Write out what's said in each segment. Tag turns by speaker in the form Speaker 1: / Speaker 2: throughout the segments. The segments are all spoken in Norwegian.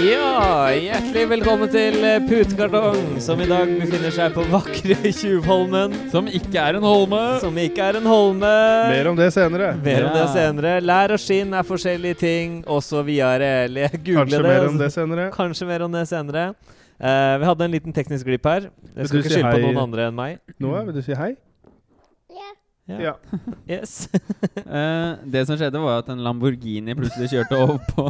Speaker 1: Ja, hjertelig velkommen til eh, Putekartong, som i dag befinner seg på vakre Tjuvholmen.
Speaker 2: Som ikke er en holme.
Speaker 1: Som ikke er en holme.
Speaker 3: Mer om det senere.
Speaker 1: Mer om det
Speaker 2: Ja.
Speaker 1: senere. Lær og skinn er forskjellige ting, og så videre. Eller jeg googlet
Speaker 3: Kanskje
Speaker 1: det.
Speaker 3: mer om det senere.
Speaker 1: Kanskje mer om det senere. Eh, vi hadde en liten teknisk glipp her. Jeg
Speaker 3: Vil du
Speaker 1: skal ikke
Speaker 3: si
Speaker 1: skylde på
Speaker 3: hei?
Speaker 1: noen andre enn meg.
Speaker 3: Noah, vil du si hei? Ja.
Speaker 1: Yes.
Speaker 2: Eh, det som skjedde, var at en Lamborghini plutselig kjørte opp på,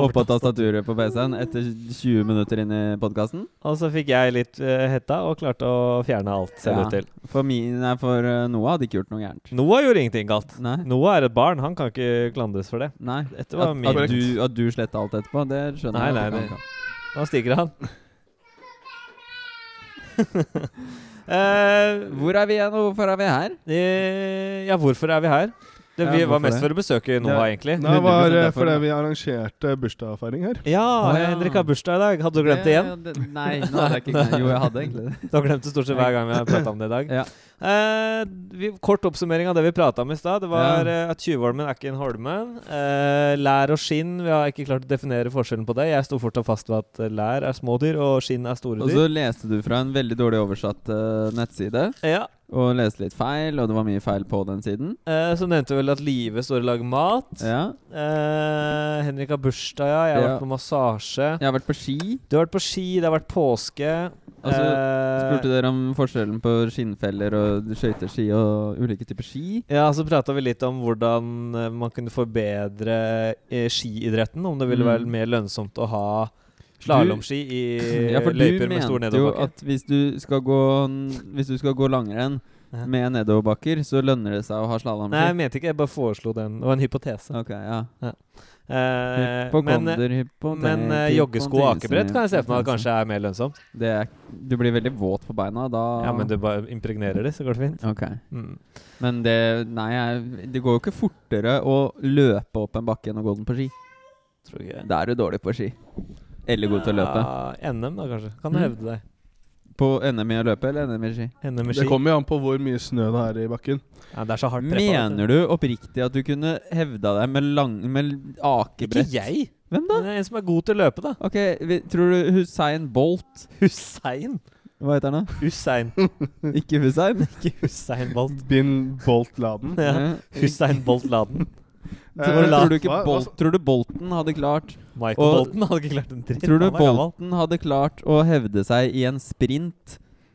Speaker 2: opp på tastaturet på PC-en etter 20 minutter inn i podkasten.
Speaker 1: Og så fikk jeg litt eh, hetta og klarte å fjerne alt, ser det
Speaker 2: Ja.
Speaker 1: ut til.
Speaker 2: For, min, nei, for eh, Noah hadde ikke gjort noe gærent.
Speaker 1: Noah gjorde ingenting galt.
Speaker 2: Nei.
Speaker 1: Noah er et barn, han kan ikke klandres for det.
Speaker 2: nei.
Speaker 1: Dette var
Speaker 2: At,
Speaker 1: min.
Speaker 2: at du, at du sletta alt etterpå, det skjønner
Speaker 1: Nei,
Speaker 2: jeg.
Speaker 1: nei,
Speaker 2: at du
Speaker 1: det-
Speaker 2: kan-
Speaker 1: Nå stiger han. Eh,
Speaker 2: Hvor er vi igjen, og hvorfor er vi her?
Speaker 1: eh, ja, hvorfor er vi her? Det,
Speaker 2: Ja,
Speaker 1: vi var
Speaker 2: hvorfor
Speaker 1: mest
Speaker 2: det?
Speaker 1: for å besøke Noah, egentlig.
Speaker 3: Det var eh,
Speaker 2: 100% derfor,
Speaker 3: fordi
Speaker 2: ja.
Speaker 3: vi arrangerte bursdagsfeiring her.
Speaker 1: Ja,
Speaker 2: Å, ja.
Speaker 1: Henrik har bursdag i dag. Hadde du glemt det igjen?
Speaker 2: Ja, Eh, det- Nei, nå hadde jeg ikke Jo, jeg hadde egentlig det.
Speaker 1: Du har glemt det stort sett hver gang vi har prata om det i dag.
Speaker 2: Ja.
Speaker 1: Eh, vi, kort oppsummering av det vi prata om i stad. Det var
Speaker 2: Ja.
Speaker 1: eh, at Tjuvholmen er ikke en holme. Eh, lær og skinn, vi har ikke klart å definere forskjellen på det. Jeg sto fortsatt fast ved at eh, lær er små dyr, og skinn er store
Speaker 2: Og
Speaker 1: dyr.
Speaker 2: så leste du fra en veldig dårlig oversatt eh, nettside,
Speaker 1: ja.
Speaker 2: og leste litt feil, og det var mye feil på den siden.
Speaker 1: eh, så nevnte vi vel at Live står og lager mat.
Speaker 2: Ja.
Speaker 1: Eh, Henrik har bursdag, ja. Jeg har
Speaker 2: Ja.
Speaker 1: vært på massasje.
Speaker 2: Jeg har vært på ski.
Speaker 1: Du har vært på ski, det har vært påske.
Speaker 2: Og
Speaker 1: Eh,
Speaker 2: så Spurte dere om forskjellen på skinnfeller og skøyteski og ulike typer ski?
Speaker 1: Ja, så prata vi litt om hvordan eh, man kunne forbedre eh, skiidretten. Om det ville
Speaker 2: Mm.
Speaker 1: være mer lønnsomt å ha slalåmski i
Speaker 2: Ja, for du
Speaker 1: løyper med stor
Speaker 2: mente jo
Speaker 1: nedoverbakke.
Speaker 2: at hvis du skal gå, hvis du skal gå langrenn
Speaker 1: Ja.
Speaker 2: med nedoverbakker, så lønner det seg å ha
Speaker 1: Nei, jeg
Speaker 2: slalåmski?
Speaker 1: mente ikke, jeg bare foreslo den. Det var en hypotese.
Speaker 2: Ok, ja.
Speaker 1: Eh, men eh,
Speaker 2: Hypokonder, hyponet...
Speaker 1: men eh, joggesko og akebrett kan jeg se for meg at kanskje er mer lønnsomt.
Speaker 2: det er, Du blir veldig våt på beina da.
Speaker 1: Ja, men du bare impregnerer det, så går det fint.
Speaker 2: Ok.
Speaker 1: Mm.
Speaker 2: Men det Nei, jeg, det går jo ikke fortere å løpe opp en bakke enn å gå den på ski.
Speaker 1: Tror ikke
Speaker 2: Da er du dårlig på ski. Eller god til å løpe.
Speaker 1: Ja, NM, da, kanskje. Kan du
Speaker 2: Mm.
Speaker 1: hevde deg?
Speaker 2: På NM i å løpe eller NM i ski?
Speaker 1: NM i
Speaker 3: Det
Speaker 1: ski.
Speaker 3: kommer jo an på hvor mye snø det er i bakken.
Speaker 1: Ja, det er så hardt treff.
Speaker 2: Mener du oppriktig at du kunne hevda deg med, lang, med
Speaker 1: Ikke
Speaker 2: akebrett?
Speaker 1: jeg.
Speaker 2: Hvem
Speaker 1: Men det er en som er god til å løpe, da.
Speaker 2: Ok, vi, tror du Hussein Bolt
Speaker 1: Hussein.
Speaker 2: Hva heter han da?
Speaker 1: Hussein.
Speaker 2: Ikke Hussein?
Speaker 1: Ikke Hussein Bolt.
Speaker 3: Bin Bolt Laden.
Speaker 1: Ja.
Speaker 2: Eh,
Speaker 1: Hussein Bolt Laden.
Speaker 3: Eh,
Speaker 2: tror,
Speaker 1: Laden.
Speaker 2: tror, du ikke
Speaker 3: Hva- hva
Speaker 2: Bolt,
Speaker 3: s-
Speaker 2: tror du Bolten hadde klart
Speaker 1: Michael
Speaker 2: Og-
Speaker 1: Bolton hadde ikke klart en dritt.
Speaker 2: Tror du
Speaker 1: han er gammel.
Speaker 2: Bolten hadde klart å hevde seg i en sprint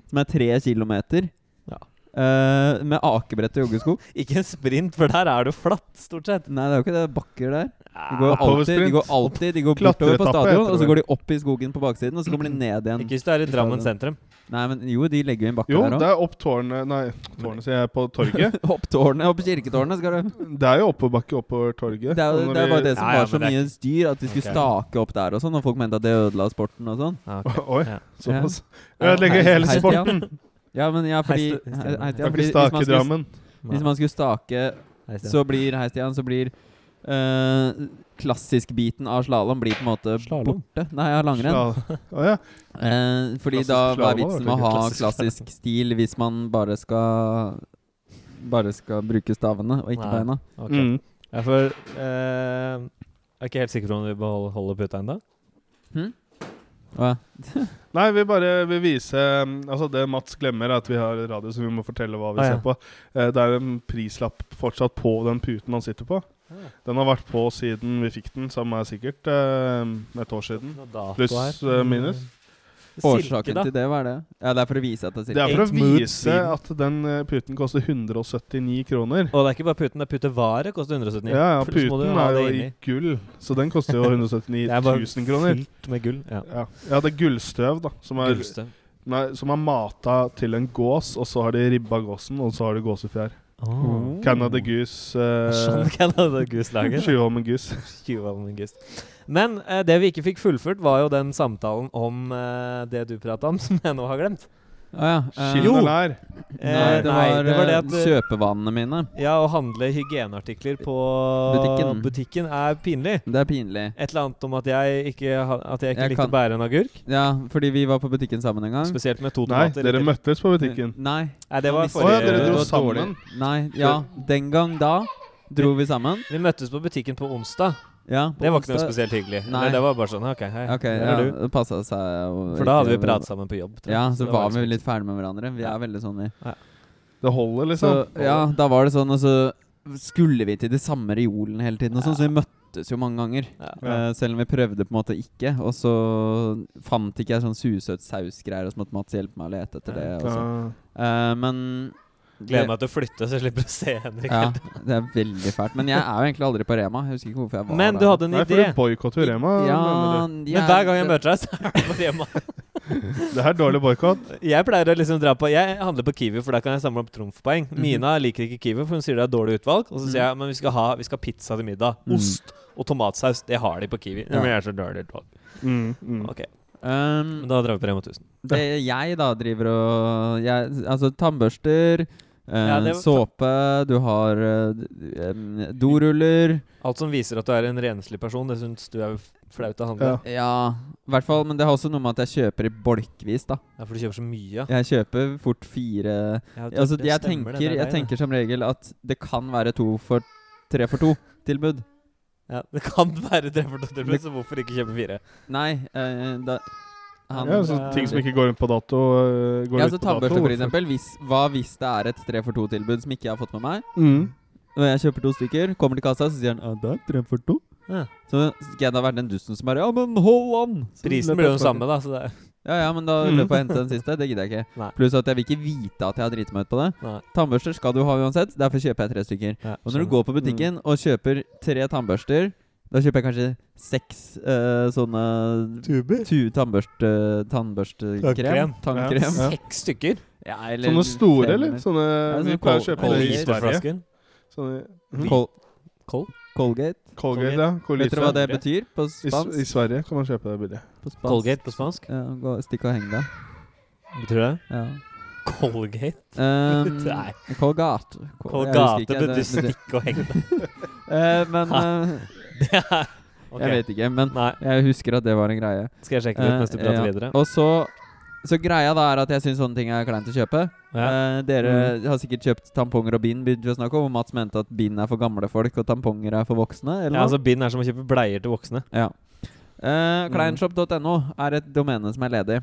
Speaker 2: som er tre kilometer?
Speaker 1: Ja.
Speaker 2: Eh, med akebrett og joggesko?
Speaker 1: Ikke en sprint, for der er du flatt, stort sett.
Speaker 2: Nei, det er jo ikke det. Det er bakker der. De
Speaker 1: Ja,
Speaker 2: går alltid, de
Speaker 3: Oppoversprint.
Speaker 2: går, alltid, de går
Speaker 3: Klatretappe
Speaker 2: bortover på
Speaker 3: heter
Speaker 2: stadion,
Speaker 3: det
Speaker 2: og så
Speaker 3: vel.
Speaker 2: går de opp i skogen på baksiden, og så kommer de ned igjen.
Speaker 1: Ikke hvis du er i Drammen sentrum.
Speaker 2: Nei, men jo, de legger jo inn bakker
Speaker 3: Jo,
Speaker 2: der òg.
Speaker 3: det er opp tårnet Nei, tårnet sier jeg, på torget.
Speaker 2: Opp tårnet, opp kirketårnet skal du
Speaker 3: Det er jo oppoverbakke oppover torget.
Speaker 2: Det er,
Speaker 3: Og
Speaker 2: jo-
Speaker 3: når
Speaker 2: det er bare
Speaker 3: vi-
Speaker 2: det som
Speaker 1: Ja, ja,
Speaker 2: var så
Speaker 1: men det er
Speaker 2: mye styr At de skulle
Speaker 1: Ok.
Speaker 2: stake opp der og sånn Og folk mente at det ødela sporten og sånn
Speaker 1: Ja, ok.
Speaker 3: Oi,
Speaker 1: Ja.
Speaker 3: såpass.
Speaker 2: Ja.
Speaker 3: Ødelegger
Speaker 2: Heis-
Speaker 3: hele
Speaker 2: heis-
Speaker 3: sporten.
Speaker 2: Ja, men ja, fordi,
Speaker 1: Heiste-
Speaker 2: he- heiste- ja,
Speaker 3: Kan
Speaker 2: fordi
Speaker 3: ikke
Speaker 2: hvis, man
Speaker 3: stake
Speaker 2: skulle,
Speaker 3: Drammen.
Speaker 2: hvis man skulle stake
Speaker 1: Nei, Stian.
Speaker 2: Så blir heistian Så blir eh, klassisk-biten av slalom Blir på en måte
Speaker 1: Slalom?
Speaker 2: borte Nei, ja, langrenn
Speaker 3: Ja. Å ja.
Speaker 2: Eh, Fordi
Speaker 3: Klassisk
Speaker 2: da hva
Speaker 3: slalom
Speaker 2: er vitsen
Speaker 3: hadde vært
Speaker 2: med å ha
Speaker 3: gøy. Klassisk
Speaker 2: klassisk stil Hvis man bare skal Bare skal bruke stavene Og ikke
Speaker 1: Nei.
Speaker 2: beina
Speaker 1: Ok.
Speaker 3: Mm.
Speaker 1: Ja, for eh, Jeg er ikke helt sikker på om vi behold- holder puta ennå.
Speaker 2: Hva?
Speaker 3: Nei, vi bare vil vise um, Altså Det Mats glemmer, er at vi har radio, så vi må fortelle hva vi
Speaker 1: Ah, ja.
Speaker 3: ser på. Eh, Det er en prislapp fortsatt på den puten han sitter på.
Speaker 1: Ah.
Speaker 3: Den har vært på siden vi fikk den, som er sikkert eh, et år siden. Pluss, eh, minus.
Speaker 1: Silke, da.
Speaker 2: Årsaken til det, hva er det? Ja, det er for å vise at det er
Speaker 3: Det er
Speaker 2: silke
Speaker 3: for å
Speaker 1: Altså, Eight moods
Speaker 3: vise
Speaker 1: siden.
Speaker 3: at den eh, puten koster 179 kroner.
Speaker 1: Og det er ikke bare puten, det er putevare. Koster 179.
Speaker 3: Ja, ja,
Speaker 1: Pluss må du
Speaker 3: puten
Speaker 1: ha
Speaker 3: er jo
Speaker 1: det
Speaker 3: i
Speaker 1: inni.
Speaker 3: gull, så den koster jo 179
Speaker 1: Det er bare
Speaker 3: 000 kroner.
Speaker 1: Fylt med gull. Ja.
Speaker 3: Ja. ja, det er gullstøv, da. Som er,
Speaker 1: Gullstøv.
Speaker 3: nei, som er mata til en gås, og så har de ribba gåsen, og så har de gåsefjær.
Speaker 1: Oh.
Speaker 3: Canada Goose.
Speaker 1: Sånn
Speaker 3: Uh,
Speaker 1: Canada Goose-laget.
Speaker 3: Sjuholmen Goose.
Speaker 1: Men eh, det vi ikke fikk fullført, var jo den samtalen om eh, det du prata om, som jeg nå har glemt.
Speaker 2: Å ja. eh,
Speaker 1: Jo.
Speaker 3: Skillen er lær.
Speaker 2: Nei,
Speaker 1: Eh,
Speaker 2: det var,
Speaker 1: det var det
Speaker 2: eh,
Speaker 1: at eh,
Speaker 2: kjøpevanene mine.
Speaker 1: Ja, å handle hygieneartikler på
Speaker 2: Butikken.
Speaker 1: butikken er pinlig.
Speaker 2: Det er pinlig.
Speaker 1: Et eller annet om at jeg ikke, ha- at jeg ikke
Speaker 2: Jeg
Speaker 1: likte
Speaker 2: kan-
Speaker 1: å bære en agurk.
Speaker 2: Ja, fordi vi var på butikken sammen en gang. Eh,
Speaker 1: Spesielt med to
Speaker 3: Nei,
Speaker 1: tomater.
Speaker 3: dere
Speaker 1: i tillegg.
Speaker 3: møttes på butikken.
Speaker 2: Nei.
Speaker 1: Nei, det var
Speaker 2: Å
Speaker 3: Å ja,
Speaker 1: forrige
Speaker 3: dere
Speaker 2: Det
Speaker 3: dro
Speaker 2: var
Speaker 3: sammen.
Speaker 2: Nei, ja. Den gang da dro vi sammen.
Speaker 1: Vi møttes på butikken på onsdag.
Speaker 2: Ja, på
Speaker 1: Det var ikke noe
Speaker 2: onsdag.
Speaker 1: spesielt hyggelig.
Speaker 2: Nei.
Speaker 1: Eller det var bare sånn OK, hei.
Speaker 2: Ok,
Speaker 1: der
Speaker 2: ja,
Speaker 1: er du.
Speaker 2: det passa seg å
Speaker 1: For da hadde vi
Speaker 2: ikke-
Speaker 1: pratet sammen på jobb. tror jeg.
Speaker 2: Ja, så
Speaker 1: det
Speaker 2: var
Speaker 1: liksom
Speaker 2: vi
Speaker 1: ikke
Speaker 2: litt ferdig med hverandre. Vi
Speaker 1: Ja.
Speaker 2: er veldig sånn, vi.
Speaker 3: Det holder,
Speaker 2: Så,
Speaker 3: liksom.
Speaker 2: ja, da var det sånn, og så skulle vi til de samme reolene hele tiden, og sånn, så vi møttes jo mange ganger.
Speaker 1: Ja.
Speaker 3: Ja.
Speaker 2: Eh, selv om vi prøvde på en måte ikke, og så fant ikke jeg sånn susøt sausgreier, og så måtte Mats hjelpe meg å lete etter det. Og sånn.
Speaker 3: Ja.
Speaker 2: Eh, men
Speaker 1: Gleder meg til å flytte, så jeg slipper å se Henrik.
Speaker 2: Ja, det er veldig fælt. Men jeg er jo egentlig aldri på Rema. Jeg husker ikke hvorfor jeg var
Speaker 1: Men
Speaker 2: der.
Speaker 1: du hadde en
Speaker 3: Nei, for
Speaker 1: idé.
Speaker 3: du boikotter jo Rema.
Speaker 2: ja,
Speaker 3: mener
Speaker 2: jeg-
Speaker 1: Men hver gang jeg møter deg, så er du på Rema.
Speaker 3: du. Det er dårlig boikott.
Speaker 1: Jeg pleier å liksom dra på Jeg handler på Kiwi, for da kan jeg samle opp trumfpoeng.
Speaker 2: Mhm.
Speaker 1: Mina liker ikke Kiwi, for hun sier det er dårlig utvalg. Og så sier
Speaker 2: Mhm.
Speaker 1: jeg men vi skal ha vi skal ha pizza til middag.
Speaker 2: Mhm.
Speaker 1: Ost og tomatsaus. Det har de på Kiwi.
Speaker 2: Ja.
Speaker 1: Ja. Men jeg er så dårlig utvalg.
Speaker 3: Mm, mm.
Speaker 1: Ok,
Speaker 2: Um,
Speaker 1: men Da drar vi på Rema 1000.
Speaker 2: Det jeg da driver og jeg, Altså tannbørster, eh,
Speaker 1: Ja, det var-
Speaker 2: såpe, du har eh, d- em, doruller
Speaker 1: Alt som viser at du er en renslig person, det syns du er jo f- flaut å handle.
Speaker 3: Ja.
Speaker 2: Ja, i hvert fall. Men det har også noe med at jeg kjøper i bolkvis, da.
Speaker 1: Ja, for du kjøper så mye. ja.
Speaker 2: Jeg kjøper fort fire
Speaker 1: Ja, det-
Speaker 2: Altså,
Speaker 1: det
Speaker 2: jeg
Speaker 1: stemmer,
Speaker 2: tenker,
Speaker 1: det. Det er
Speaker 2: jeg
Speaker 1: deg, det.
Speaker 2: tenker som regel at det kan være to for tre for to-tilbud.
Speaker 1: Ja, det kan være tre for to tilbud, så hvorfor ikke kjøpe fire?
Speaker 2: Nei, eh, da han,
Speaker 3: Ja, så ting som ikke går rundt på dato, øh, går
Speaker 2: eh, Ja,
Speaker 3: ut
Speaker 2: så
Speaker 3: på dato.
Speaker 2: tannbørste, for eksempel. Hvis, hva hvis det er et tre for to-tilbud som ikke jeg har fått med meg?
Speaker 3: Mm.
Speaker 2: Når jeg kjøper to stykker, kommer til kassa, så sier han «Ja, det er tre for to.
Speaker 1: Ja.
Speaker 2: Så skal jeg da være den dusten som bare Ja, men hold an! Så
Speaker 1: Prisen
Speaker 2: løper
Speaker 1: blir jo
Speaker 2: jeg
Speaker 1: den samme, da. Så det er,
Speaker 2: tilbake. Ja, ja, men da
Speaker 3: Mm.
Speaker 2: løper jeg og henter den siste. Det gidder jeg ikke.
Speaker 1: Nei.
Speaker 2: Pluss at jeg vil ikke vite at jeg har driti meg ut på det.
Speaker 1: nei,
Speaker 2: Tannbørster skal du ha uansett, derfor kjøper jeg tre stykker.
Speaker 1: ja,
Speaker 2: Og når
Speaker 1: skjønner. Mm.
Speaker 2: du går på butikken og kjøper tre tannbørster, da kjøper jeg kanskje seks eh, sånne
Speaker 1: Tuber?
Speaker 2: tu tannbørste...
Speaker 1: Tannkrem.
Speaker 2: Tannbørstekrem? Tannkrem.
Speaker 3: Ja.
Speaker 1: Seks stykker?
Speaker 2: Ja, eller
Speaker 3: Sånne
Speaker 2: fem,
Speaker 3: store, eller? Sånne
Speaker 2: Ja, sånn
Speaker 3: vi pleier å
Speaker 2: sånne Col-
Speaker 3: kjøpe i Sverige.
Speaker 1: Literflasken?
Speaker 3: Sånne
Speaker 2: Col
Speaker 1: Kol?
Speaker 2: Colgate.
Speaker 3: Colgate, ja.
Speaker 2: Vet dere hva
Speaker 3: Colita.
Speaker 2: det betyr på
Speaker 3: I, S- I
Speaker 2: spansk?
Speaker 3: Sverige kan man kjøpe det billig.
Speaker 2: På spansk.
Speaker 1: Colgate på spansk?
Speaker 2: Ja, gå, stikk og heng deg.
Speaker 1: Betyr det?
Speaker 2: Ja.
Speaker 1: Colgate?
Speaker 2: Um,
Speaker 1: Nei.
Speaker 2: Colgate. Col-
Speaker 1: Colgate
Speaker 2: jeg husker ikke, det-
Speaker 1: betyr stikk og heng deg.
Speaker 2: Eh, men eh,
Speaker 1: Det er- Ok.
Speaker 2: Jeg vet ikke, men
Speaker 1: Nei,
Speaker 2: jeg husker at det var en greie.
Speaker 1: skal jeg sjekke det ut mens du
Speaker 2: Eh,
Speaker 1: prater
Speaker 2: ja.
Speaker 1: videre?
Speaker 2: Og så Så greia da er at jeg syns sånne ting er kleint å kjøpe.
Speaker 1: Ja.
Speaker 2: Eh, dere
Speaker 3: Mm.
Speaker 2: har sikkert kjøpt tamponger og bind, begynte vi å snakke om. Og Mats mente at bind er for gamle folk, og tamponger er for voksne. Eller
Speaker 1: Ja,
Speaker 2: noe?
Speaker 1: altså Bind er som å kjøpe bleier til voksne.
Speaker 2: Ja. Eh, Kleinshop.no er et domene som er ledig,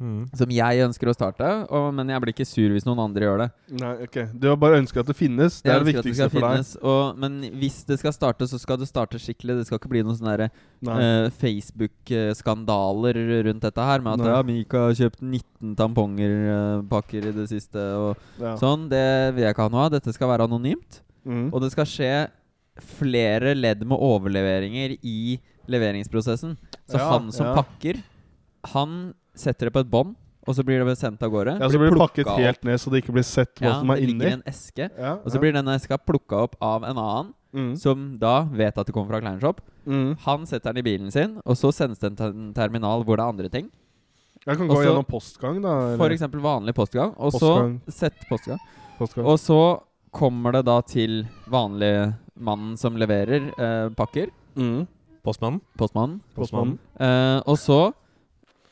Speaker 1: Mm.
Speaker 2: som jeg ønsker å starte. Og, men jeg blir ikke sur hvis noen andre gjør det.
Speaker 3: Nei, ok. Du har bare ønsket at det finnes. Det er
Speaker 2: Jeg
Speaker 3: det
Speaker 2: ønsker at
Speaker 3: viktigste
Speaker 2: skal
Speaker 3: for deg.
Speaker 2: finnes, og, men hvis det skal starte, så skal det starte skikkelig. Det skal ikke bli noen sånne der,
Speaker 3: Nei.
Speaker 2: eh, Facebook-skandaler rundt dette her. Med at
Speaker 3: Nei.
Speaker 2: ja, Mika har kjøpt 19 tampongerpakker i det siste. Og
Speaker 3: Ja.
Speaker 2: Sånn, Det vil jeg ikke ha noe av. Dette skal være anonymt.
Speaker 3: Mm.
Speaker 2: Og det skal skje flere ledd med overleveringer i leveringsprosessen. Så
Speaker 3: Ja,
Speaker 2: han som
Speaker 3: ja.
Speaker 2: pakker, han setter det på et bånd, og så blir det sendt av gårde.
Speaker 3: Ja, så blir det
Speaker 2: plukket
Speaker 3: pakket helt ned, så det ikke blir sett hva
Speaker 2: ja,
Speaker 3: som
Speaker 2: det
Speaker 3: er
Speaker 2: ligger
Speaker 3: inni.
Speaker 2: i en eske.
Speaker 3: Ja,
Speaker 2: Og så blir denne eska plukka opp av en annen,
Speaker 3: Mm.
Speaker 2: som da vet at det kommer fra Kleinshop.
Speaker 3: Mm.
Speaker 2: Han setter den i bilen sin, og så sendes den til en terminal hvor det er andre ting.
Speaker 3: Jeg kan gå
Speaker 2: Og så-
Speaker 3: gjennom postgang, da.
Speaker 2: For
Speaker 3: eller-
Speaker 2: eksempel vanlig postgang. Og så
Speaker 3: Postgang.
Speaker 2: sett postgang.
Speaker 3: postgang.
Speaker 2: Og så kommer det da til vanlig mannen som leverer eh, pakker.
Speaker 3: Mm.
Speaker 1: Postmannen?
Speaker 2: Postmannen.
Speaker 1: Postmannen.
Speaker 2: Eh, og så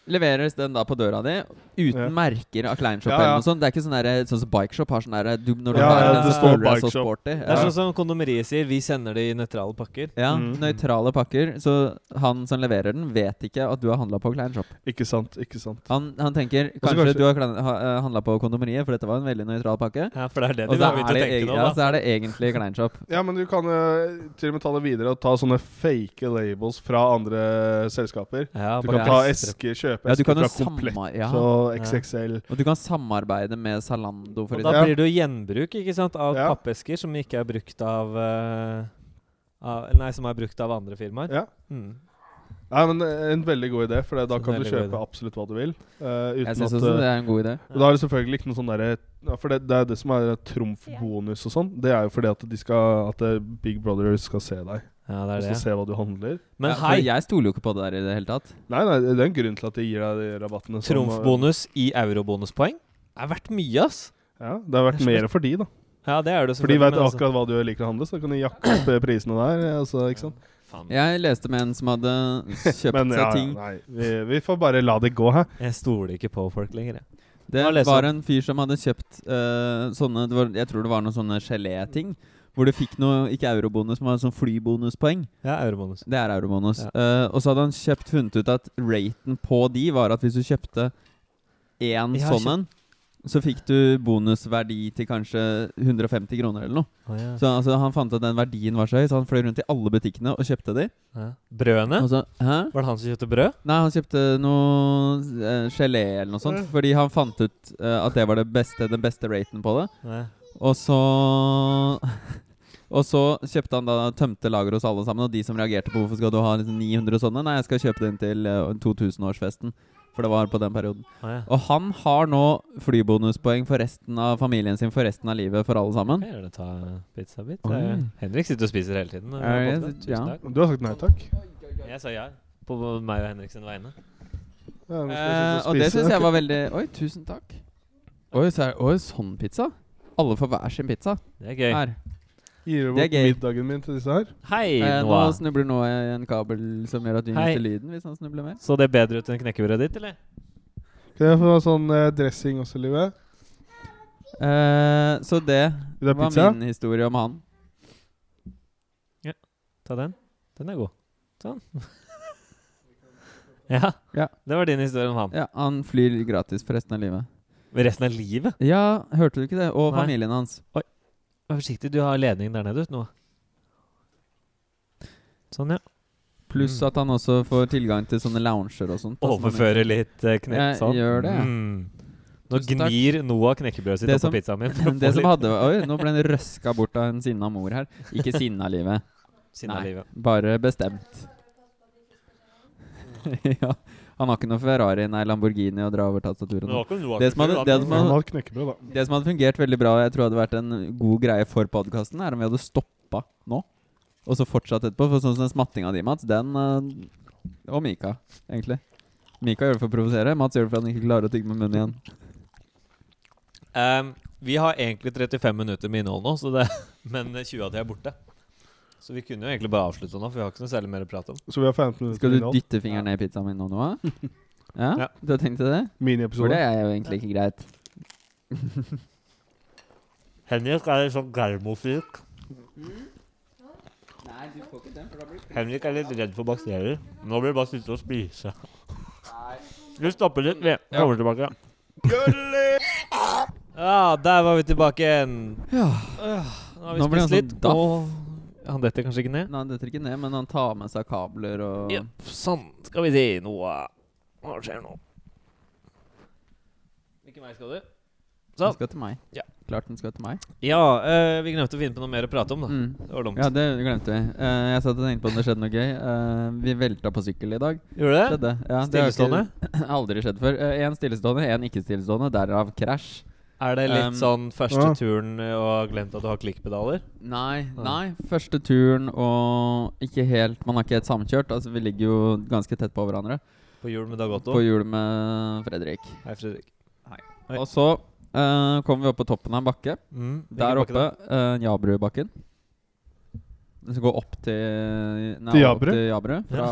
Speaker 2: leveres den da på døra di uten
Speaker 3: Ja.
Speaker 2: merker av Kleinshop
Speaker 3: Ja, ja.
Speaker 2: eller noe sånt. Det er ikke sånn der, sånn som Bikeshop har sånn derre du- Når du
Speaker 1: Ja,
Speaker 2: bærer
Speaker 1: ja,
Speaker 2: den,
Speaker 1: det
Speaker 2: så
Speaker 1: står
Speaker 2: føler du deg så
Speaker 3: Bikeshop.
Speaker 2: sporty.
Speaker 1: Det er
Speaker 2: Ja.
Speaker 1: sånn som kondomeriet sier, vi sender det i nøytrale pakker.
Speaker 2: ja,
Speaker 3: Mm.
Speaker 2: nøytrale pakker. Så han som leverer den, vet ikke at du har handla på Kleinshop.
Speaker 3: Ikke sant, ikke sant.
Speaker 2: Han, han tenker
Speaker 3: Og så
Speaker 2: kanskje,
Speaker 3: kanskje-
Speaker 2: du har klein- ha, handla på kondomeriet, for dette var en veldig nøytral pakke.
Speaker 1: Ja, for det er det
Speaker 2: Og
Speaker 1: de vil
Speaker 2: så er,
Speaker 1: vite
Speaker 2: det
Speaker 1: å tenke
Speaker 2: egen-
Speaker 1: nå,
Speaker 2: ja,
Speaker 1: da.
Speaker 2: så er det egentlig kleinshop.
Speaker 3: Ja, men du kan eh, til og med ta det videre og ta sånne fake labels fra andre selskaper.
Speaker 1: Ja,
Speaker 3: Du
Speaker 1: bare
Speaker 3: kan ta
Speaker 1: klestre
Speaker 3: eske, kjøpe
Speaker 2: Ja, du
Speaker 3: eske
Speaker 2: kan jo
Speaker 3: fra Komplett
Speaker 2: samar- ja.
Speaker 3: og
Speaker 1: Ja.
Speaker 3: XXL.
Speaker 2: Og du kan samarbeide med Zalando, for
Speaker 1: Og
Speaker 2: eksempel.
Speaker 1: da
Speaker 3: Ja.
Speaker 1: blir det jo gjenbruk ikke sant, av
Speaker 3: Ja.
Speaker 1: pappesker som ikke er brukt av, eh, av Nei, som er brukt av andre firmaer.
Speaker 3: Ja.
Speaker 1: Mm.
Speaker 3: Nei, men eh, En veldig god idé, for det- da
Speaker 1: Så
Speaker 3: kan du
Speaker 1: veldig god
Speaker 3: kjøpe absolutt hva du vil. eh, uten
Speaker 2: Jeg syns
Speaker 3: at,
Speaker 2: også
Speaker 3: eh,
Speaker 2: det er en god idé.
Speaker 3: Og Da er det selvfølgelig ikke noe sånn derre ja, For det, det er det som er trumfbonus og sånn. Det er jo fordi at, de skal, at eh, Big Brother skal se deg.
Speaker 1: Ja, det
Speaker 3: Og
Speaker 1: er
Speaker 3: så
Speaker 1: det.
Speaker 3: se hva du handler.
Speaker 1: Men
Speaker 2: Ja, for
Speaker 1: hei,
Speaker 2: Jeg stoler jo ikke på det der i det hele tatt.
Speaker 3: Nei, nei, det er en grunn til at de gir deg de rabattene. som, eh,
Speaker 1: trumfbonus i eurobonuspoeng er verdt mye, ass.
Speaker 3: Ja, Det har vært mer for de, da.
Speaker 1: Ja, det er det
Speaker 3: For de vet
Speaker 1: men altså-
Speaker 3: akkurat hva du liker å handle, så da kan de jakke opp eh, prisene der. eh, Altså, ikke sant?
Speaker 1: Faen.
Speaker 2: Jeg leste med en som hadde kjøpt
Speaker 3: Men ja,
Speaker 2: seg
Speaker 3: ja,
Speaker 2: ting.
Speaker 3: nei, vi, vi får bare la det gå, hæ.
Speaker 1: Jeg stoler ikke på folk lenger, jeg.
Speaker 2: Det
Speaker 1: Hva leser
Speaker 2: var
Speaker 1: du?
Speaker 2: en fyr som hadde kjøpt eh, sånne det var, Jeg tror det var noen sånne geléting. Hvor du fikk noe, ikke eurobonus, men sånn flybonuspoeng.
Speaker 1: Ja, eurobonus.
Speaker 2: Det er eurobonus.
Speaker 1: Ja.
Speaker 2: Eh, og så hadde han kjøpt funnet ut at raten på de var at hvis du kjøpte én
Speaker 1: Ja,
Speaker 2: sånn en, så fikk du bonusverdi til kanskje 150 kroner eller noe.
Speaker 1: Å, ja.
Speaker 2: Så altså, han fant at den verdien var så høy, så han fløy rundt i alle butikkene og kjøpte de.
Speaker 1: Ja. Brødene?
Speaker 2: Og så, hæ?
Speaker 1: Var det han som kjøpte brød?
Speaker 2: Nei, han kjøpte noe eh, gelé eller noe sånt, fordi han fant ut eh, at det var det beste, den beste raten på det.
Speaker 1: Nei.
Speaker 2: Og så Og så kjøpte han da tømte lageret hos alle sammen, og de som reagerte på hvorfor skal du ha liksom 900 og sånne, nei, jeg skal kjøpe den til eh, 2000-årsfesten. For det var på den perioden.
Speaker 1: Å, ja.
Speaker 2: Og han har nå flybonuspoeng for resten av familien sin for resten av livet for alle sammen.
Speaker 1: Kan jeg gjerne ta pizzabit?
Speaker 2: Oi.
Speaker 1: Jeg- Henrik sitter og spiser hele tiden. når vi
Speaker 2: Er
Speaker 1: har
Speaker 2: det-
Speaker 1: podkast.
Speaker 2: ja.
Speaker 1: Tusen takk.
Speaker 3: Du har sagt nei takk.
Speaker 1: Jeg sa ja. På meg og Henrik sine vegne.
Speaker 3: Ja, nå skal jeg
Speaker 2: Eh,
Speaker 3: sitte
Speaker 2: og det
Speaker 3: spise.
Speaker 2: syns jeg var veldig Oi, tusen takk. Oi, så er, oi, sånn pizza? Alle får hver sin pizza.
Speaker 1: Det er gøy.
Speaker 2: Her.
Speaker 3: Gir du
Speaker 2: Det er
Speaker 3: bort
Speaker 2: gøy.
Speaker 3: middagen min til disse her?
Speaker 1: Hei,
Speaker 2: Eh, nå
Speaker 1: Noah.
Speaker 2: snubler Noah i en kabel som gjør at vi
Speaker 1: Hei.
Speaker 2: mister lyden hvis han snubler mer.
Speaker 1: Så det er bedre ut enn knekkebrødet ditt, eller?
Speaker 3: Kan jeg få sånn eh, dressing også, Live?
Speaker 2: Eh, så det,
Speaker 3: Vil du ha
Speaker 2: var
Speaker 3: pizza?
Speaker 2: min historie om han.
Speaker 1: Ta den. Den er god. Sånn. ja.
Speaker 2: Ja.
Speaker 1: Det var din historie om han.
Speaker 2: Ja, Han flyr gratis for resten av livet.
Speaker 1: Men resten av livet?
Speaker 2: Ja, hørte du ikke det? Og
Speaker 1: Nei.
Speaker 2: familien hans.
Speaker 1: Vær forsiktig, du har ledningen der nede, Noah. Sånn, ja.
Speaker 2: Pluss
Speaker 1: Mm.
Speaker 2: at han også får tilgang til sånne lounger og sånt. da, som han-
Speaker 1: Overføre litt eh,
Speaker 2: Jeg
Speaker 1: knepsalt.
Speaker 2: gjør det, jeg.
Speaker 1: Mm. Nå
Speaker 2: Tusen takk.
Speaker 1: gnir Noah knekkebrødet sitt
Speaker 2: Det
Speaker 1: oppå
Speaker 2: som-
Speaker 1: pizzaen min. for å få
Speaker 2: Det som
Speaker 1: litt
Speaker 2: hadde Oi, nå ble den røska bort av en sinna mor her. Ikke sinna livet,
Speaker 1: sinn av
Speaker 2: Nei.
Speaker 1: livet.
Speaker 2: bare bestemt. ja. Han har ikke noe Ferrari, nei, Lamborghini å dra over tastaturet. nå. Det som hadde- det som
Speaker 3: Han
Speaker 2: hadde-
Speaker 3: har knekkebrød, da.
Speaker 2: Det som hadde fungert veldig bra, og jeg tror hadde vært en god greie for podkasten, er om vi hadde stoppa nå, og så fortsatt etterpå. For sånn som den smattinga di, Mats, den eh, Og Mika, egentlig. Mika gjør det for å provosere, Mats gjør det for at han ikke klarer å tygge med munnen igjen.
Speaker 1: Ehm, vi har egentlig 35 minutter med innhold nå, så det, men 20 av de er borte. Så vi kunne jo egentlig bare avslutte nå, for vi har ikke noe særlig mer å prate om.
Speaker 3: Så vi har 15 minutter
Speaker 2: Skal du
Speaker 3: til innhold.
Speaker 2: dytte fingeren ned i pizzaen min nå, Noah? Ja?
Speaker 1: Ja.
Speaker 2: Du har tenkt til det? For det
Speaker 3: Miniepisode.
Speaker 2: er jo egentlig ikke greit.
Speaker 1: Henrik er litt sånn germofyk.
Speaker 2: Nei, du får ikke den, for da blir
Speaker 1: Henrik er litt redd for bakterier. Nå vil jeg bare sitte og spise. Du stopper litt, vi kommer tilbake. Ja, der var vi tilbake igjen. Øh,
Speaker 2: Ja.
Speaker 1: Nå har vi
Speaker 2: Nå ble han
Speaker 1: spist
Speaker 2: sånn
Speaker 1: litt.
Speaker 2: daff.
Speaker 1: Og han detter kanskje ikke ned?
Speaker 2: Nei, han detter ikke ned, men han tar med seg kabler og
Speaker 1: Ja, sånn. Skal vi si noe. Hva skjer nå? Hvilken vei skal du?
Speaker 2: Den skal til meg.
Speaker 1: Ja.
Speaker 2: Klart den skal til meg.
Speaker 1: Ja, eh, vi glemte å finne på noe mer å prate om, da.
Speaker 2: Mm.
Speaker 1: Det var dumt.
Speaker 2: Ja, det glemte vi. Eh, jeg satt og tenkte på om det skjedde noe gøy. Eh, vi velta på sykkel i dag.
Speaker 1: Gjorde du det?
Speaker 2: Skjedde. Ja, det har ikke-
Speaker 1: Stillestående?
Speaker 2: aldri skjedd før. Én stillestående, én ikke-stillestående, derav krasj.
Speaker 1: Er det litt
Speaker 2: Um,
Speaker 1: sånn første
Speaker 3: ja.
Speaker 1: turen eh, og har glemt at du har klikkpedaler?
Speaker 2: Nei,
Speaker 1: Ja.
Speaker 2: nei. Første turen og ikke helt Man har ikke helt samkjørt. Altså, vi ligger jo ganske tett på hverandre.
Speaker 1: På hjul med Dag Otto?
Speaker 2: På hjul med Fredrik.
Speaker 1: Hei, Fredrik. Oi.
Speaker 2: Og så eh, kom vi opp på toppen av en bakke.
Speaker 1: Mm, hvilken
Speaker 2: Der
Speaker 1: bakke da?
Speaker 2: oppe, uh, Jabrubakken. Den skal gå opp til nei,
Speaker 3: Til
Speaker 2: opp
Speaker 3: Jabru?
Speaker 2: Til Jabru fra,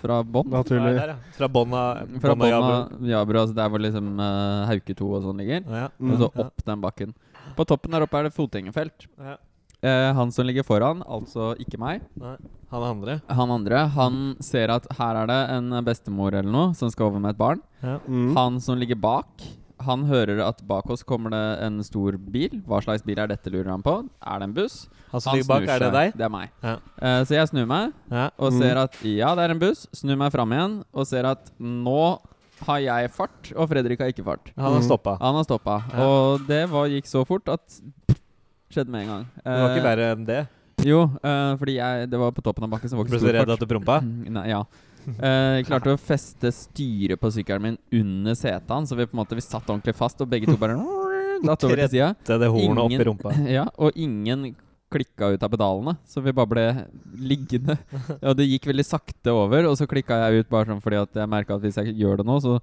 Speaker 2: fra bånn.
Speaker 1: Ja,
Speaker 3: Naturlig.
Speaker 1: der, ja. Fra bånna
Speaker 2: Fra bånn av Jabru, altså der hvor liksom eh, Hauke 2 og sånn ligger.
Speaker 1: Ja,
Speaker 3: Mm.
Speaker 2: Og så opp den bakken. På toppen der oppe er det fotgjengerfelt.
Speaker 1: ja.
Speaker 2: Eh, han som ligger foran, altså ikke meg,
Speaker 1: Nei, han andre.
Speaker 2: han andre, han ser at her er det en bestemor eller noe som skal over med et barn.
Speaker 3: Mm.
Speaker 2: Han som ligger bak, han hører at bak oss kommer det en stor bil. Hva slags bil er dette, lurer han på. Er det en buss?
Speaker 1: Han som Altså,
Speaker 2: Han
Speaker 1: ligger bak,
Speaker 2: snur
Speaker 1: er det
Speaker 2: seg.
Speaker 1: deg?
Speaker 2: Det er meg.
Speaker 1: Ja.
Speaker 2: Eh, så jeg snur meg
Speaker 1: Ja.
Speaker 2: og
Speaker 3: Mm.
Speaker 2: ser at ja, det er en buss. Snur meg fram igjen og ser at nå har jeg fart, og Fredrik har ikke fart.
Speaker 1: Han har
Speaker 3: Mm.
Speaker 1: stoppa.
Speaker 2: Han har stoppa.
Speaker 1: Ja.
Speaker 2: Og det var, gikk så fort at skjedde med en gang.
Speaker 1: Det var
Speaker 2: Eh,
Speaker 1: ikke verre enn det.
Speaker 2: Jo, eh, fordi jeg, det var på toppen av bakken, så det var
Speaker 1: Ble
Speaker 2: ikke
Speaker 1: du
Speaker 2: stor
Speaker 1: redd
Speaker 2: fart.
Speaker 1: at du prompa?
Speaker 2: Mm, Nei, ja. Eh, jeg klarte å feste styret på sykkelen min under setene, så vi på en måte vi satt ordentlig fast, og begge to bare datt over til sida.
Speaker 1: Det er det hornet opp i
Speaker 2: Ingen-
Speaker 1: rumpa.
Speaker 2: Ja, og ingen klikka ut av pedalene, så vi bare ble liggende. Og det gikk veldig sakte over, og så klikka jeg ut bare sånn fordi at jeg merka at hvis jeg gjør det nå, så,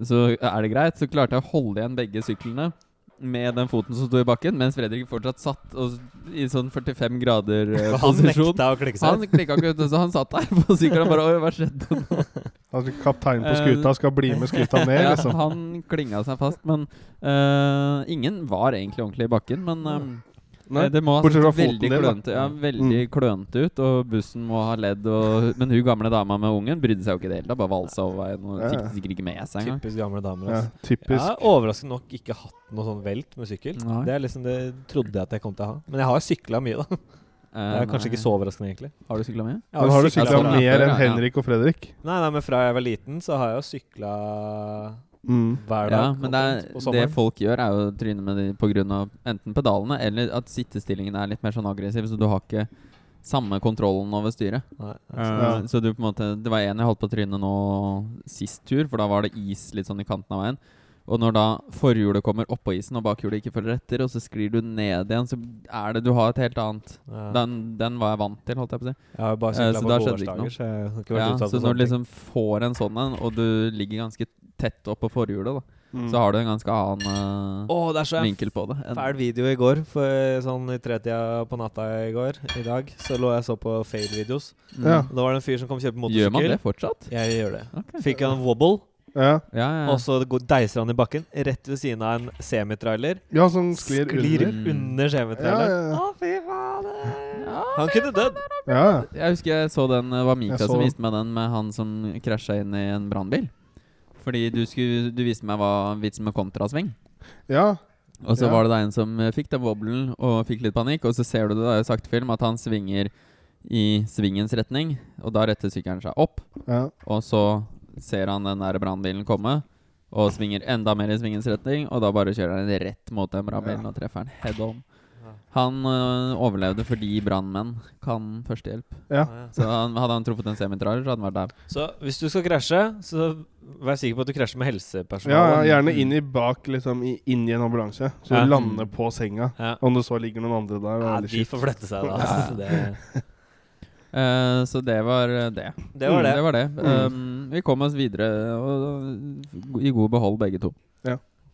Speaker 2: så er det greit. Så klarte jeg å holde igjen begge syklene med den foten som sto i bakken, mens Fredrik fortsatt satt og, i sånn 45 grader eh,
Speaker 1: Han
Speaker 2: posisjon.
Speaker 1: nekta å klikke seg
Speaker 2: Han
Speaker 1: ut.
Speaker 2: klikka ikke ut, så han satt der på sykkelen og bare Oi, hva skjedde?
Speaker 3: Altså, kapteinen på
Speaker 2: Eh,
Speaker 3: skuta skal bli med skuta ned,
Speaker 2: Ja,
Speaker 3: liksom.
Speaker 2: han klinga seg fast, men eh, ingen var egentlig ordentlig i bakken. Men eh,
Speaker 3: Nei.
Speaker 2: Eh, det må ha
Speaker 3: bortsett
Speaker 2: sett
Speaker 3: fra foten
Speaker 2: veldig
Speaker 3: din, da. Mm.
Speaker 1: Mm.
Speaker 2: klønete ja, veldig klønete ut, og bussen må ha ledd. Og, men hun gamle dama med ungen brydde seg jo ikke i det hele tatt. Bare valsa over veien og
Speaker 3: Ja, ja.
Speaker 2: fikk sikkert ikke med seg engang.
Speaker 1: Typisk gamle damer.
Speaker 3: Ja,
Speaker 1: Altså. Jeg
Speaker 3: typisk.
Speaker 1: har overraskende nok ikke hatt noe sånn velt med sykkel.
Speaker 2: Nei.
Speaker 1: Det er liksom det trodde jeg at jeg kom til å ha. Men jeg har sykla mye, da. Det
Speaker 2: Eh,
Speaker 1: er kanskje ikke så overraskende, egentlig.
Speaker 2: Har du sykla mye?
Speaker 1: Jeg
Speaker 3: Men har du
Speaker 1: syklet
Speaker 3: sykla
Speaker 2: sånn
Speaker 1: mye.
Speaker 3: mer
Speaker 2: før,
Speaker 3: enn
Speaker 2: ja, ja.
Speaker 3: Henrik og Fredrik?
Speaker 1: Nei, nei, men fra jeg var liten, så har jeg jo sykla
Speaker 3: Mm.
Speaker 1: hver dag.
Speaker 2: Ja, men det,
Speaker 1: omtrent, på
Speaker 2: er, det
Speaker 1: sommeren.
Speaker 2: folk gjør, er jo å tryne med de på grunn av enten pedalene eller at sittestillingen er litt mer sånn aggressiv, så du har ikke samme kontrollen over styret.
Speaker 1: Nei, altså,
Speaker 3: Ja.
Speaker 2: Altså, Så du på en måte Det var en jeg holdt på å tryne nå sist tur, for da var det is litt sånn i kanten av veien. Og når da forhjulet kommer oppå isen, og bakhjulet ikke følger etter, og så sklir du ned igjen, så er det du har et helt annet
Speaker 1: ja.
Speaker 2: Den, den var jeg vant til, holdt jeg på å si.
Speaker 1: Jeg har bare
Speaker 2: Eh,
Speaker 1: sykla
Speaker 2: så
Speaker 1: på
Speaker 2: da skjedde det ikke noe.
Speaker 1: gårsdager, så jeg har ikke vært
Speaker 2: Ja,
Speaker 1: utsatt
Speaker 2: så
Speaker 1: for
Speaker 2: når
Speaker 1: sånne
Speaker 2: du liksom får en sånn en, og du ligger ganske tett oppå forhjulet, da,
Speaker 3: Mm.
Speaker 2: så har du en ganske annen
Speaker 1: ting.
Speaker 2: eh,
Speaker 1: Å, det er så jeg
Speaker 2: vinkel på det. enn-
Speaker 1: Fæl video i går, for sånn i tretida på natta i går, i dag, så lå jeg og så på fail-videos.
Speaker 2: Mm.
Speaker 3: Ja.
Speaker 1: Da var det en fyr som kom og kjøpte motorsykkel.
Speaker 2: Gjør man det fortsatt?
Speaker 1: Jeg gjør det.
Speaker 2: Ok.
Speaker 1: Fikk han wobble,
Speaker 3: Ja.
Speaker 2: Ja, ja.
Speaker 1: og så går- deiser han i bakken, rett ved siden av en semitrailer.
Speaker 3: ja, som sånn sklir,
Speaker 1: Sklir,
Speaker 3: under.
Speaker 1: under,
Speaker 2: Mm.
Speaker 3: Ja,
Speaker 1: semitraileren.
Speaker 3: ja, ja.
Speaker 1: Å, fy fader! Han kunne dødd.
Speaker 3: Ja, ja.
Speaker 2: Jeg husker jeg så den Det var Mika
Speaker 3: Jeg så
Speaker 2: som
Speaker 3: den.
Speaker 2: viste meg den med han som krasja inn i en brannbil. Fordi du, skulle, du viste meg hva vitsen med kontrasving.
Speaker 3: ja.
Speaker 2: Og så
Speaker 3: Ja.
Speaker 2: var det da en som eh, fikk den wobblen og fikk litt panikk. Og så ser du det, det er jo sakte film, at han svinger i svingens retning. Og da retter sykkelen seg opp.
Speaker 3: ja.
Speaker 2: Og så ser han den der brannbilen komme. Og svinger enda mer i svingens retning, og da bare kjører han rett mot den brannbilen
Speaker 3: Ja.
Speaker 2: og treffer han head on. Han eh, overlevde fordi brannmenn kan førstehjelp.
Speaker 3: Ja.
Speaker 2: Så han, hadde han truffet en semitrailer, så hadde han vært der.
Speaker 1: Så hvis du skal krasje, så vær sikker på at du krasjer med
Speaker 3: ja,
Speaker 1: helsepersonell.
Speaker 3: ja, gjerne inn i bak, liksom i- inn i en ambulanse. Så
Speaker 1: Ja.
Speaker 3: du lander på senga.
Speaker 1: Ja.
Speaker 3: Om det så ligger noen andre der.
Speaker 1: Ja,
Speaker 3: Ja,
Speaker 1: de får flette seg, da. Altså, det,
Speaker 2: Eh, så det var eh, det.
Speaker 1: det var det. Mm.
Speaker 2: Det var det. Um, vi kom oss videre og, og, i god behold, begge to.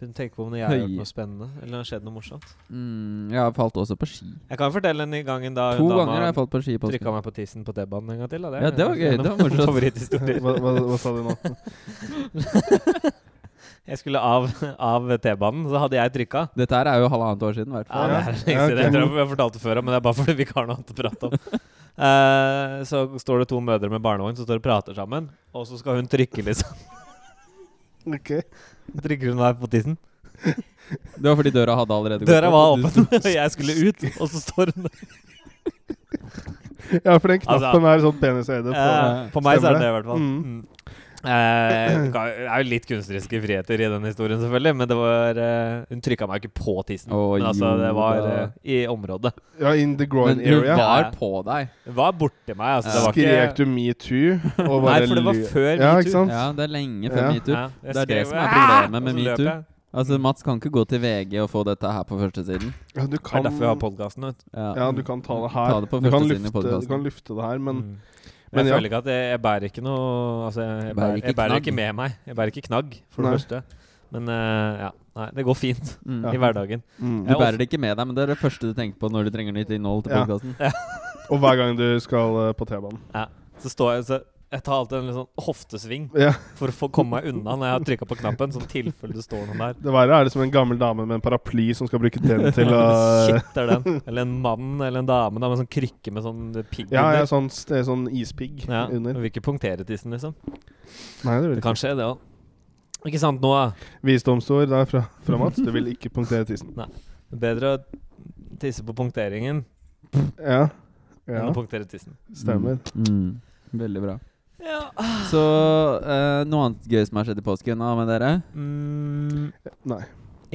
Speaker 1: Begynner å tenke på om jeg har gjort
Speaker 2: Høy.
Speaker 1: noe spennende. Eller det har skjedd noe morsomt.
Speaker 2: Mm, jeg falt også på ski.
Speaker 1: Jeg kan fortelle en gang en da
Speaker 2: To
Speaker 1: hun
Speaker 2: ganger har jeg
Speaker 1: dama
Speaker 2: falt på ski i påsken.
Speaker 1: trykka meg på tissen på T-banen en gang til. Da.
Speaker 2: Ja, det var gøy.
Speaker 1: en av
Speaker 2: Det var morsomt.
Speaker 1: favoritthistorier.
Speaker 3: hva, hva, hva sa du nå?
Speaker 1: Jeg skulle av, av T-banen, så hadde jeg trykka.
Speaker 2: Dette her er jo halvannet år siden, i hvert
Speaker 1: Ja,
Speaker 2: fall.
Speaker 1: det
Speaker 3: Ja.
Speaker 1: er
Speaker 3: Ja,
Speaker 1: lenge siden. Jeg
Speaker 3: ok.
Speaker 1: tror jeg har fortalt det før, men det er bare fordi vi ikke har noe annet å prate om. Eh, så står det to mødre med barnevogn som står og prater sammen, og så skal hun trykke, liksom.
Speaker 3: Ok.
Speaker 1: Trykker hun meg på tissen.
Speaker 2: Det var fordi døra hadde allerede gått
Speaker 1: Døra var
Speaker 2: opp.
Speaker 1: åpen, og jeg skulle ut, og så står hun der.
Speaker 3: Ja, for den knappen
Speaker 1: Altså-
Speaker 3: er sånn penisøyde. på-
Speaker 1: Eh, På meg så er det
Speaker 3: Stemmer
Speaker 1: det, i hvert fall.
Speaker 3: Mm.
Speaker 1: Mm. Eh, det kan- det er jo litt kunstneriske friheter i den historien, selvfølgelig, men det var eh, Hun trykka meg ikke på tissen,
Speaker 2: Å,
Speaker 1: men altså, det
Speaker 2: jo
Speaker 1: var
Speaker 2: da.
Speaker 1: eh, i området.
Speaker 3: Ja, in the groin
Speaker 2: Men du
Speaker 3: area.
Speaker 2: var på deg.
Speaker 1: Det var borti meg, altså. Det var
Speaker 3: Skrek
Speaker 1: ikke
Speaker 3: du metoo? og
Speaker 1: Nei,
Speaker 3: bare
Speaker 1: for det var
Speaker 3: ly-
Speaker 1: før
Speaker 3: Ja,
Speaker 1: metoo.
Speaker 3: ikke sant?
Speaker 2: Ja, det er lenge før
Speaker 3: Ja.
Speaker 2: metoo.
Speaker 1: Ja, jeg
Speaker 2: Det er det
Speaker 1: skrev,
Speaker 2: som er
Speaker 1: "Ah!"
Speaker 2: problemet
Speaker 1: og
Speaker 2: med
Speaker 1: så løp
Speaker 2: metoo.
Speaker 1: jeg.
Speaker 2: Altså, Mats kan ikke gå til VG og få dette her på førstesiden.
Speaker 3: Ja, du
Speaker 1: Det
Speaker 3: kan,
Speaker 1: er derfor vi har podkasten.
Speaker 3: ja, du kan ta det her.
Speaker 2: Ta det på
Speaker 3: du, kan
Speaker 2: førstesiden i
Speaker 3: lufte, du
Speaker 2: podkasten.
Speaker 3: kan lufte det her, men men
Speaker 1: Men, Mm. jeg
Speaker 3: ja.
Speaker 1: føler ikke at jeg, jeg bærer ikke noe Altså, jeg, jeg bærer,
Speaker 2: ikke
Speaker 1: jeg bærer
Speaker 2: knagg.
Speaker 1: ikke med meg. Jeg bærer ikke knagg, for det
Speaker 3: Nei.
Speaker 1: første. Men eh, ja. Nei, det går fint
Speaker 2: Mm.
Speaker 1: i hverdagen.
Speaker 3: mm.
Speaker 2: Du bærer det ikke med deg, men det er det første du tenker på når du trenger nytt innhold til
Speaker 3: Ja.
Speaker 2: podkasten.
Speaker 3: Og hver gang du skal eh, på T-banen.
Speaker 1: Så står jeg så Jeg tar alltid en litt sånn hoftesving
Speaker 3: Ja,
Speaker 1: for å få komme meg unna når jeg har trykka på knappen, sånn tilfelle det står noen der.
Speaker 3: Det verre er det som en gammel dame med en paraply som skal bruke den til å
Speaker 1: Shitter den. Eller en mann eller en dame da, med sånn krykke med sånn pigg
Speaker 3: Ja, ja
Speaker 1: under.
Speaker 3: sånn, st- sånn ispigg
Speaker 1: Ja,
Speaker 3: under.
Speaker 1: Vil ikke punktere tissen, liksom.
Speaker 3: Nei, det vil
Speaker 1: Det
Speaker 3: ikke.
Speaker 1: kan skje, det òg. Ikke sant, Noah?
Speaker 3: Visdomsord der fra, fra Mats. Du vil ikke punktere tissen.
Speaker 1: Bedre å tisse på punkteringen
Speaker 3: Ja.
Speaker 1: enn
Speaker 3: ja
Speaker 1: å punktere tissen.
Speaker 3: stemmer.
Speaker 2: Mm. Veldig bra.
Speaker 1: Ja.
Speaker 2: Så eh, noe annet gøy som har skjedd i påsken da, med dere?
Speaker 1: Mm,
Speaker 3: Nei.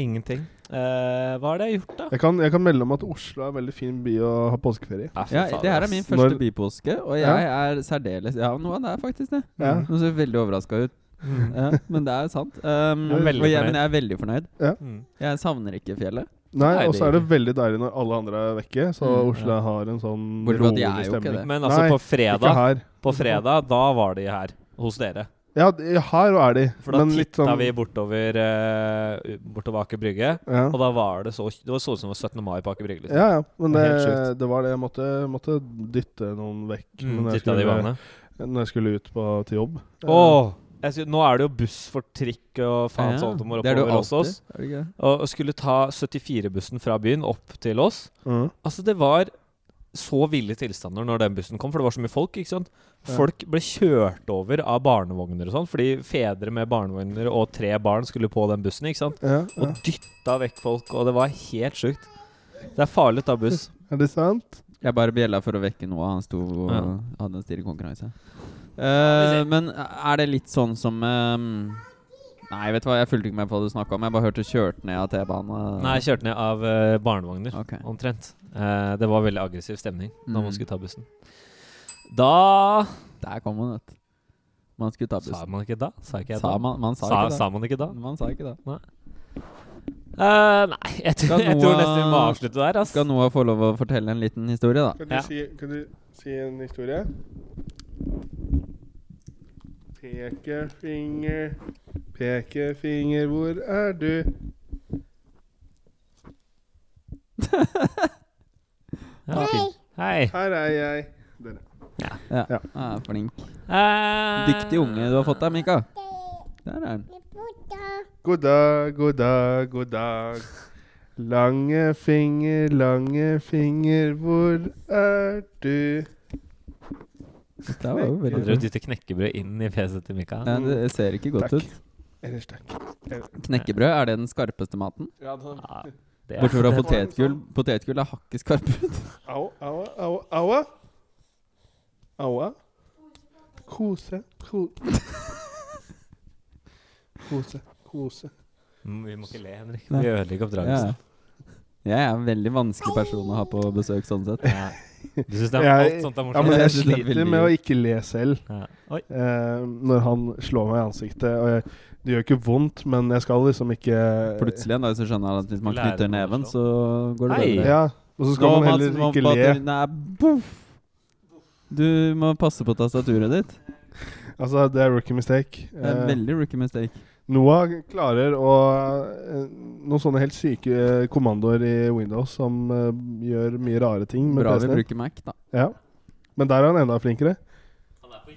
Speaker 1: ingenting. Eh, hva har det jeg gjort, da?
Speaker 3: Jeg kan, jeg kan melde om at Oslo er en veldig fin by å ha påskeferie i.
Speaker 1: Ja, fy
Speaker 2: Ja,
Speaker 1: fader,
Speaker 2: det her er
Speaker 1: ass.
Speaker 2: min første
Speaker 3: Når-
Speaker 2: bypåske, og jeg er særdeles Ja, noe av det er faktisk det.
Speaker 3: Ja.
Speaker 2: Nå ser jeg veldig overraska ut,
Speaker 1: Mm.
Speaker 2: ja, men det er sant. Um,
Speaker 1: Jeg er veldig
Speaker 2: og jeg,
Speaker 1: fornøyd.
Speaker 2: men jeg er veldig fornøyd.
Speaker 1: Mm.
Speaker 2: Jeg savner ikke fjellet.
Speaker 3: Nei,
Speaker 1: Nei,
Speaker 3: Og
Speaker 1: det
Speaker 3: så
Speaker 1: er
Speaker 3: er det veldig deilig når alle andre er vekke, så
Speaker 2: Mm,
Speaker 3: Oslo
Speaker 1: ja.
Speaker 3: har en sånn
Speaker 2: Bortsett fra at
Speaker 3: rolig
Speaker 2: jeg er jo ikke
Speaker 3: stemning.
Speaker 2: det.
Speaker 1: Men altså,
Speaker 3: Nei,
Speaker 1: på
Speaker 3: Ikke
Speaker 1: fredag,
Speaker 3: her.
Speaker 1: på fredag, da var de her hos dere.
Speaker 3: Ja, d- her er de.
Speaker 1: For da
Speaker 3: men litt
Speaker 1: titta
Speaker 3: sånn
Speaker 1: vi bortover, eh, bortover Aker Brygge,
Speaker 3: ja.
Speaker 1: og da var det så Det var sånn som det var 17. mai på Aker Brygge. Liksom.
Speaker 3: ja, ja. Men
Speaker 1: Det
Speaker 3: det,
Speaker 1: er helt sjukt.
Speaker 3: det var det. Jeg måtte, måtte dytte noen vekk.
Speaker 1: Mm,
Speaker 3: men jeg
Speaker 1: titta de i
Speaker 3: skulle-
Speaker 1: vannet.
Speaker 3: Når jeg skulle ut på, til jobb.
Speaker 1: Åh, jeg sy- nå er det jo buss for trikk og faen
Speaker 2: Ja,
Speaker 1: så alt om å
Speaker 2: det er det
Speaker 1: oppover
Speaker 2: jo
Speaker 1: hos oss.
Speaker 2: alltid, er det ikke det?
Speaker 1: Og og skulle ta 74-bussen fra byen opp til oss.
Speaker 3: Mhm.
Speaker 1: Altså, det var så ville tilstander når den bussen kom, for det var så mye folk. ikke sant?
Speaker 3: Ja.
Speaker 1: Folk ble kjørt over av barnevogner og sånn, fordi fedre med barnevogner og tre barn skulle på den bussen. ikke sant?
Speaker 3: Ja, ja.
Speaker 1: Og dytta vekk folk, og det var helt sjukt. Det er farlig å ta buss.
Speaker 3: Er det sant?
Speaker 2: Jeg bare bjella for å vekke noe. Han sto og
Speaker 1: Ja.
Speaker 2: hadde en stirrekonkurranse. Uh, men er det litt sånn som ehm, Nei, vet du hva, jeg fulgte ikke med på hva du snakka om. Jeg bare hørte kjørt ned av T-banen.
Speaker 1: Nei, jeg kjørte ned av eh, barnevogner,
Speaker 2: Ok.
Speaker 1: omtrent. Eh, det var veldig aggressiv stemning da man
Speaker 2: Mm.
Speaker 1: skulle ta bussen. Da
Speaker 2: Der kom han, vet du. Man skulle ta
Speaker 1: Sa
Speaker 2: bussen.
Speaker 1: man ikke da? Sa ikke jeg
Speaker 2: Sa
Speaker 1: da?
Speaker 2: man, man sa,
Speaker 1: sa,
Speaker 2: ikke det.
Speaker 1: sa man ikke da?
Speaker 2: Man sa ikke det.
Speaker 1: Eh, nei, jeg, tror-
Speaker 2: Skal
Speaker 1: jeg tror
Speaker 2: Noah-
Speaker 1: nesten vi må avslutte der. ass.
Speaker 2: Skal Noah få lov å fortelle en liten historie, da?
Speaker 3: Kan
Speaker 1: du Ja.
Speaker 3: du si en historie? Pekefinger, pekefinger, hvor er du?
Speaker 1: Ja, fin. Hei.
Speaker 3: Her er jeg. Dere.
Speaker 2: Ja.
Speaker 3: Ja.
Speaker 2: Ah, flink.
Speaker 1: Eh,
Speaker 2: Dyktig unge du har fått deg, Mika. Der er han.
Speaker 3: God dag, god dag, god dag. Lange finger, lange finger, hvor er du?
Speaker 2: Det var jo
Speaker 1: Han
Speaker 2: veldig
Speaker 1: drev og
Speaker 2: bra.
Speaker 1: dyttet knekkebrød inn i fjeset til Mika.
Speaker 2: Ja, det ser ikke godt
Speaker 3: Takk.
Speaker 2: ut.
Speaker 3: Ellers takk.
Speaker 2: Knekkebrød, er det den skarpeste maten?
Speaker 3: Ja, da.
Speaker 1: Ja, det er-
Speaker 2: Bortsett fra
Speaker 1: det-
Speaker 2: potetgull. Potetgull er hakket skarpere.
Speaker 3: Au, au, au, au. Au. Kose, ko... Kose, kose.
Speaker 1: Mm, Vi må ikke le, Henrik. Vi
Speaker 2: Nei.
Speaker 1: ødelegger
Speaker 2: Ja.
Speaker 1: oppdragelsen.
Speaker 2: Jeg er en veldig vanskelig person å ha på besøk, sånn sett.
Speaker 1: Ja. Du syns det er
Speaker 3: Jeg-
Speaker 1: alt sånt er
Speaker 3: Ja, men
Speaker 1: morsomt?
Speaker 2: Jeg
Speaker 3: jeg
Speaker 2: synes det er
Speaker 3: sliter
Speaker 2: veldig-
Speaker 3: med å ikke le selv
Speaker 1: Ja. Oi.
Speaker 3: eh, når han slår meg i ansiktet. Og jeg, det gjør ikke vondt, men jeg skal liksom ikke
Speaker 2: Plutselig en dag så skjønner han at hvis man
Speaker 1: Lærer
Speaker 2: knytter
Speaker 1: man å
Speaker 2: neven,
Speaker 1: slå.
Speaker 2: så går det
Speaker 1: Hei.
Speaker 2: bedre.
Speaker 3: Ja, og så skal
Speaker 2: Nå,
Speaker 3: man
Speaker 2: Mats,
Speaker 3: heller
Speaker 2: må
Speaker 3: ikke
Speaker 2: bare-
Speaker 3: le.
Speaker 2: Nei, boff. Du må passe på tastaturet ditt.
Speaker 3: Altså, det er rookie mistake.
Speaker 2: Det er en
Speaker 3: Eh,
Speaker 2: veldig rookie mistake.
Speaker 3: Noah klarer å eh, Noen sånne helt syke eh, kommandoer i Windows som eh, gjør mye rare ting Mm, med
Speaker 2: Bra vi
Speaker 3: PC-en.
Speaker 2: bruker Mac, da.
Speaker 3: Ja. Men der er han enda flinkere.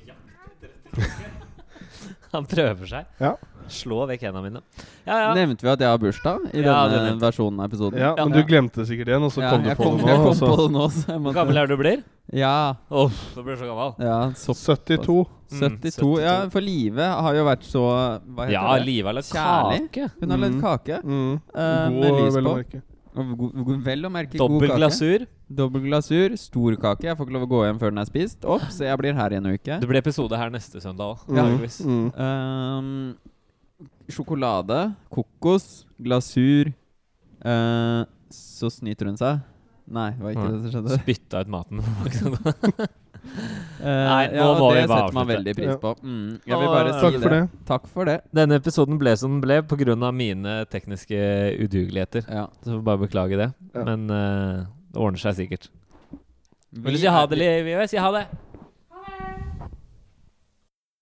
Speaker 1: Han prøver seg.
Speaker 3: Ja.
Speaker 1: Slå vekk hendene mine. Ja, ja.
Speaker 2: Nevnte vi at jeg har bursdag i
Speaker 1: Ja, det
Speaker 2: denne
Speaker 1: nevnte
Speaker 2: versjonen av episoden?
Speaker 3: Ja, Men
Speaker 2: Ja.
Speaker 3: du glemte sikkert igjen, og så
Speaker 2: Ja,
Speaker 3: kom du
Speaker 2: jeg
Speaker 3: på
Speaker 2: kom,
Speaker 3: det nå.
Speaker 2: jeg
Speaker 3: altså.
Speaker 2: kom
Speaker 3: Og så
Speaker 2: på det nå, så jeg
Speaker 1: Hvor
Speaker 2: måtte
Speaker 1: gammel er du blir?
Speaker 2: Ja,
Speaker 1: Åh, da blir du så gammel.
Speaker 2: ja så
Speaker 3: 72.
Speaker 1: Mm,
Speaker 2: 72. Ja, for Live har jo vært så Hva heter
Speaker 1: Ja,
Speaker 2: det?
Speaker 1: livet er litt
Speaker 2: Kjærlig.
Speaker 1: kake.
Speaker 2: Hun har lagd
Speaker 3: Mm.
Speaker 2: kake.
Speaker 3: Mm.
Speaker 2: eh,
Speaker 3: God,
Speaker 2: med lys
Speaker 3: vel å
Speaker 2: på.
Speaker 3: merke.
Speaker 2: Og go- go- Vel å merke
Speaker 1: Dobbel
Speaker 2: god kake.
Speaker 1: glasur.
Speaker 2: Dobbel glasur. Stor kake. Jeg får ikke lov å gå hjem før den er spist opp, så jeg blir her i en uke.
Speaker 1: Det blir episode her neste søndag òg.
Speaker 3: Mm. Mm.
Speaker 2: Ehm, sjokolade, kokos, glasur eh, Så snyter hun seg. Nei, det var ikke
Speaker 1: Nei.
Speaker 2: det som skjedde.
Speaker 1: Spytta ut maten.
Speaker 2: Eh,
Speaker 1: Nei, nå
Speaker 2: ja,
Speaker 1: må
Speaker 2: det
Speaker 1: vi bare
Speaker 2: setter man
Speaker 1: avslutte.
Speaker 2: veldig pris
Speaker 3: Ja.
Speaker 2: på. Mm, jeg
Speaker 1: Og,
Speaker 2: vil bare
Speaker 1: eh,
Speaker 2: si
Speaker 3: Takk for det.
Speaker 2: Takk for det.
Speaker 1: Denne episoden ble som den ble pga. mine tekniske udugeligheter.
Speaker 2: Ja.
Speaker 1: Så får vi bare beklage det.
Speaker 3: Ja.
Speaker 1: Men eh, det ordner seg sikkert.
Speaker 2: Vi
Speaker 1: Vil du si ha
Speaker 2: er-
Speaker 1: det, Liv? Jeg vil si ha det.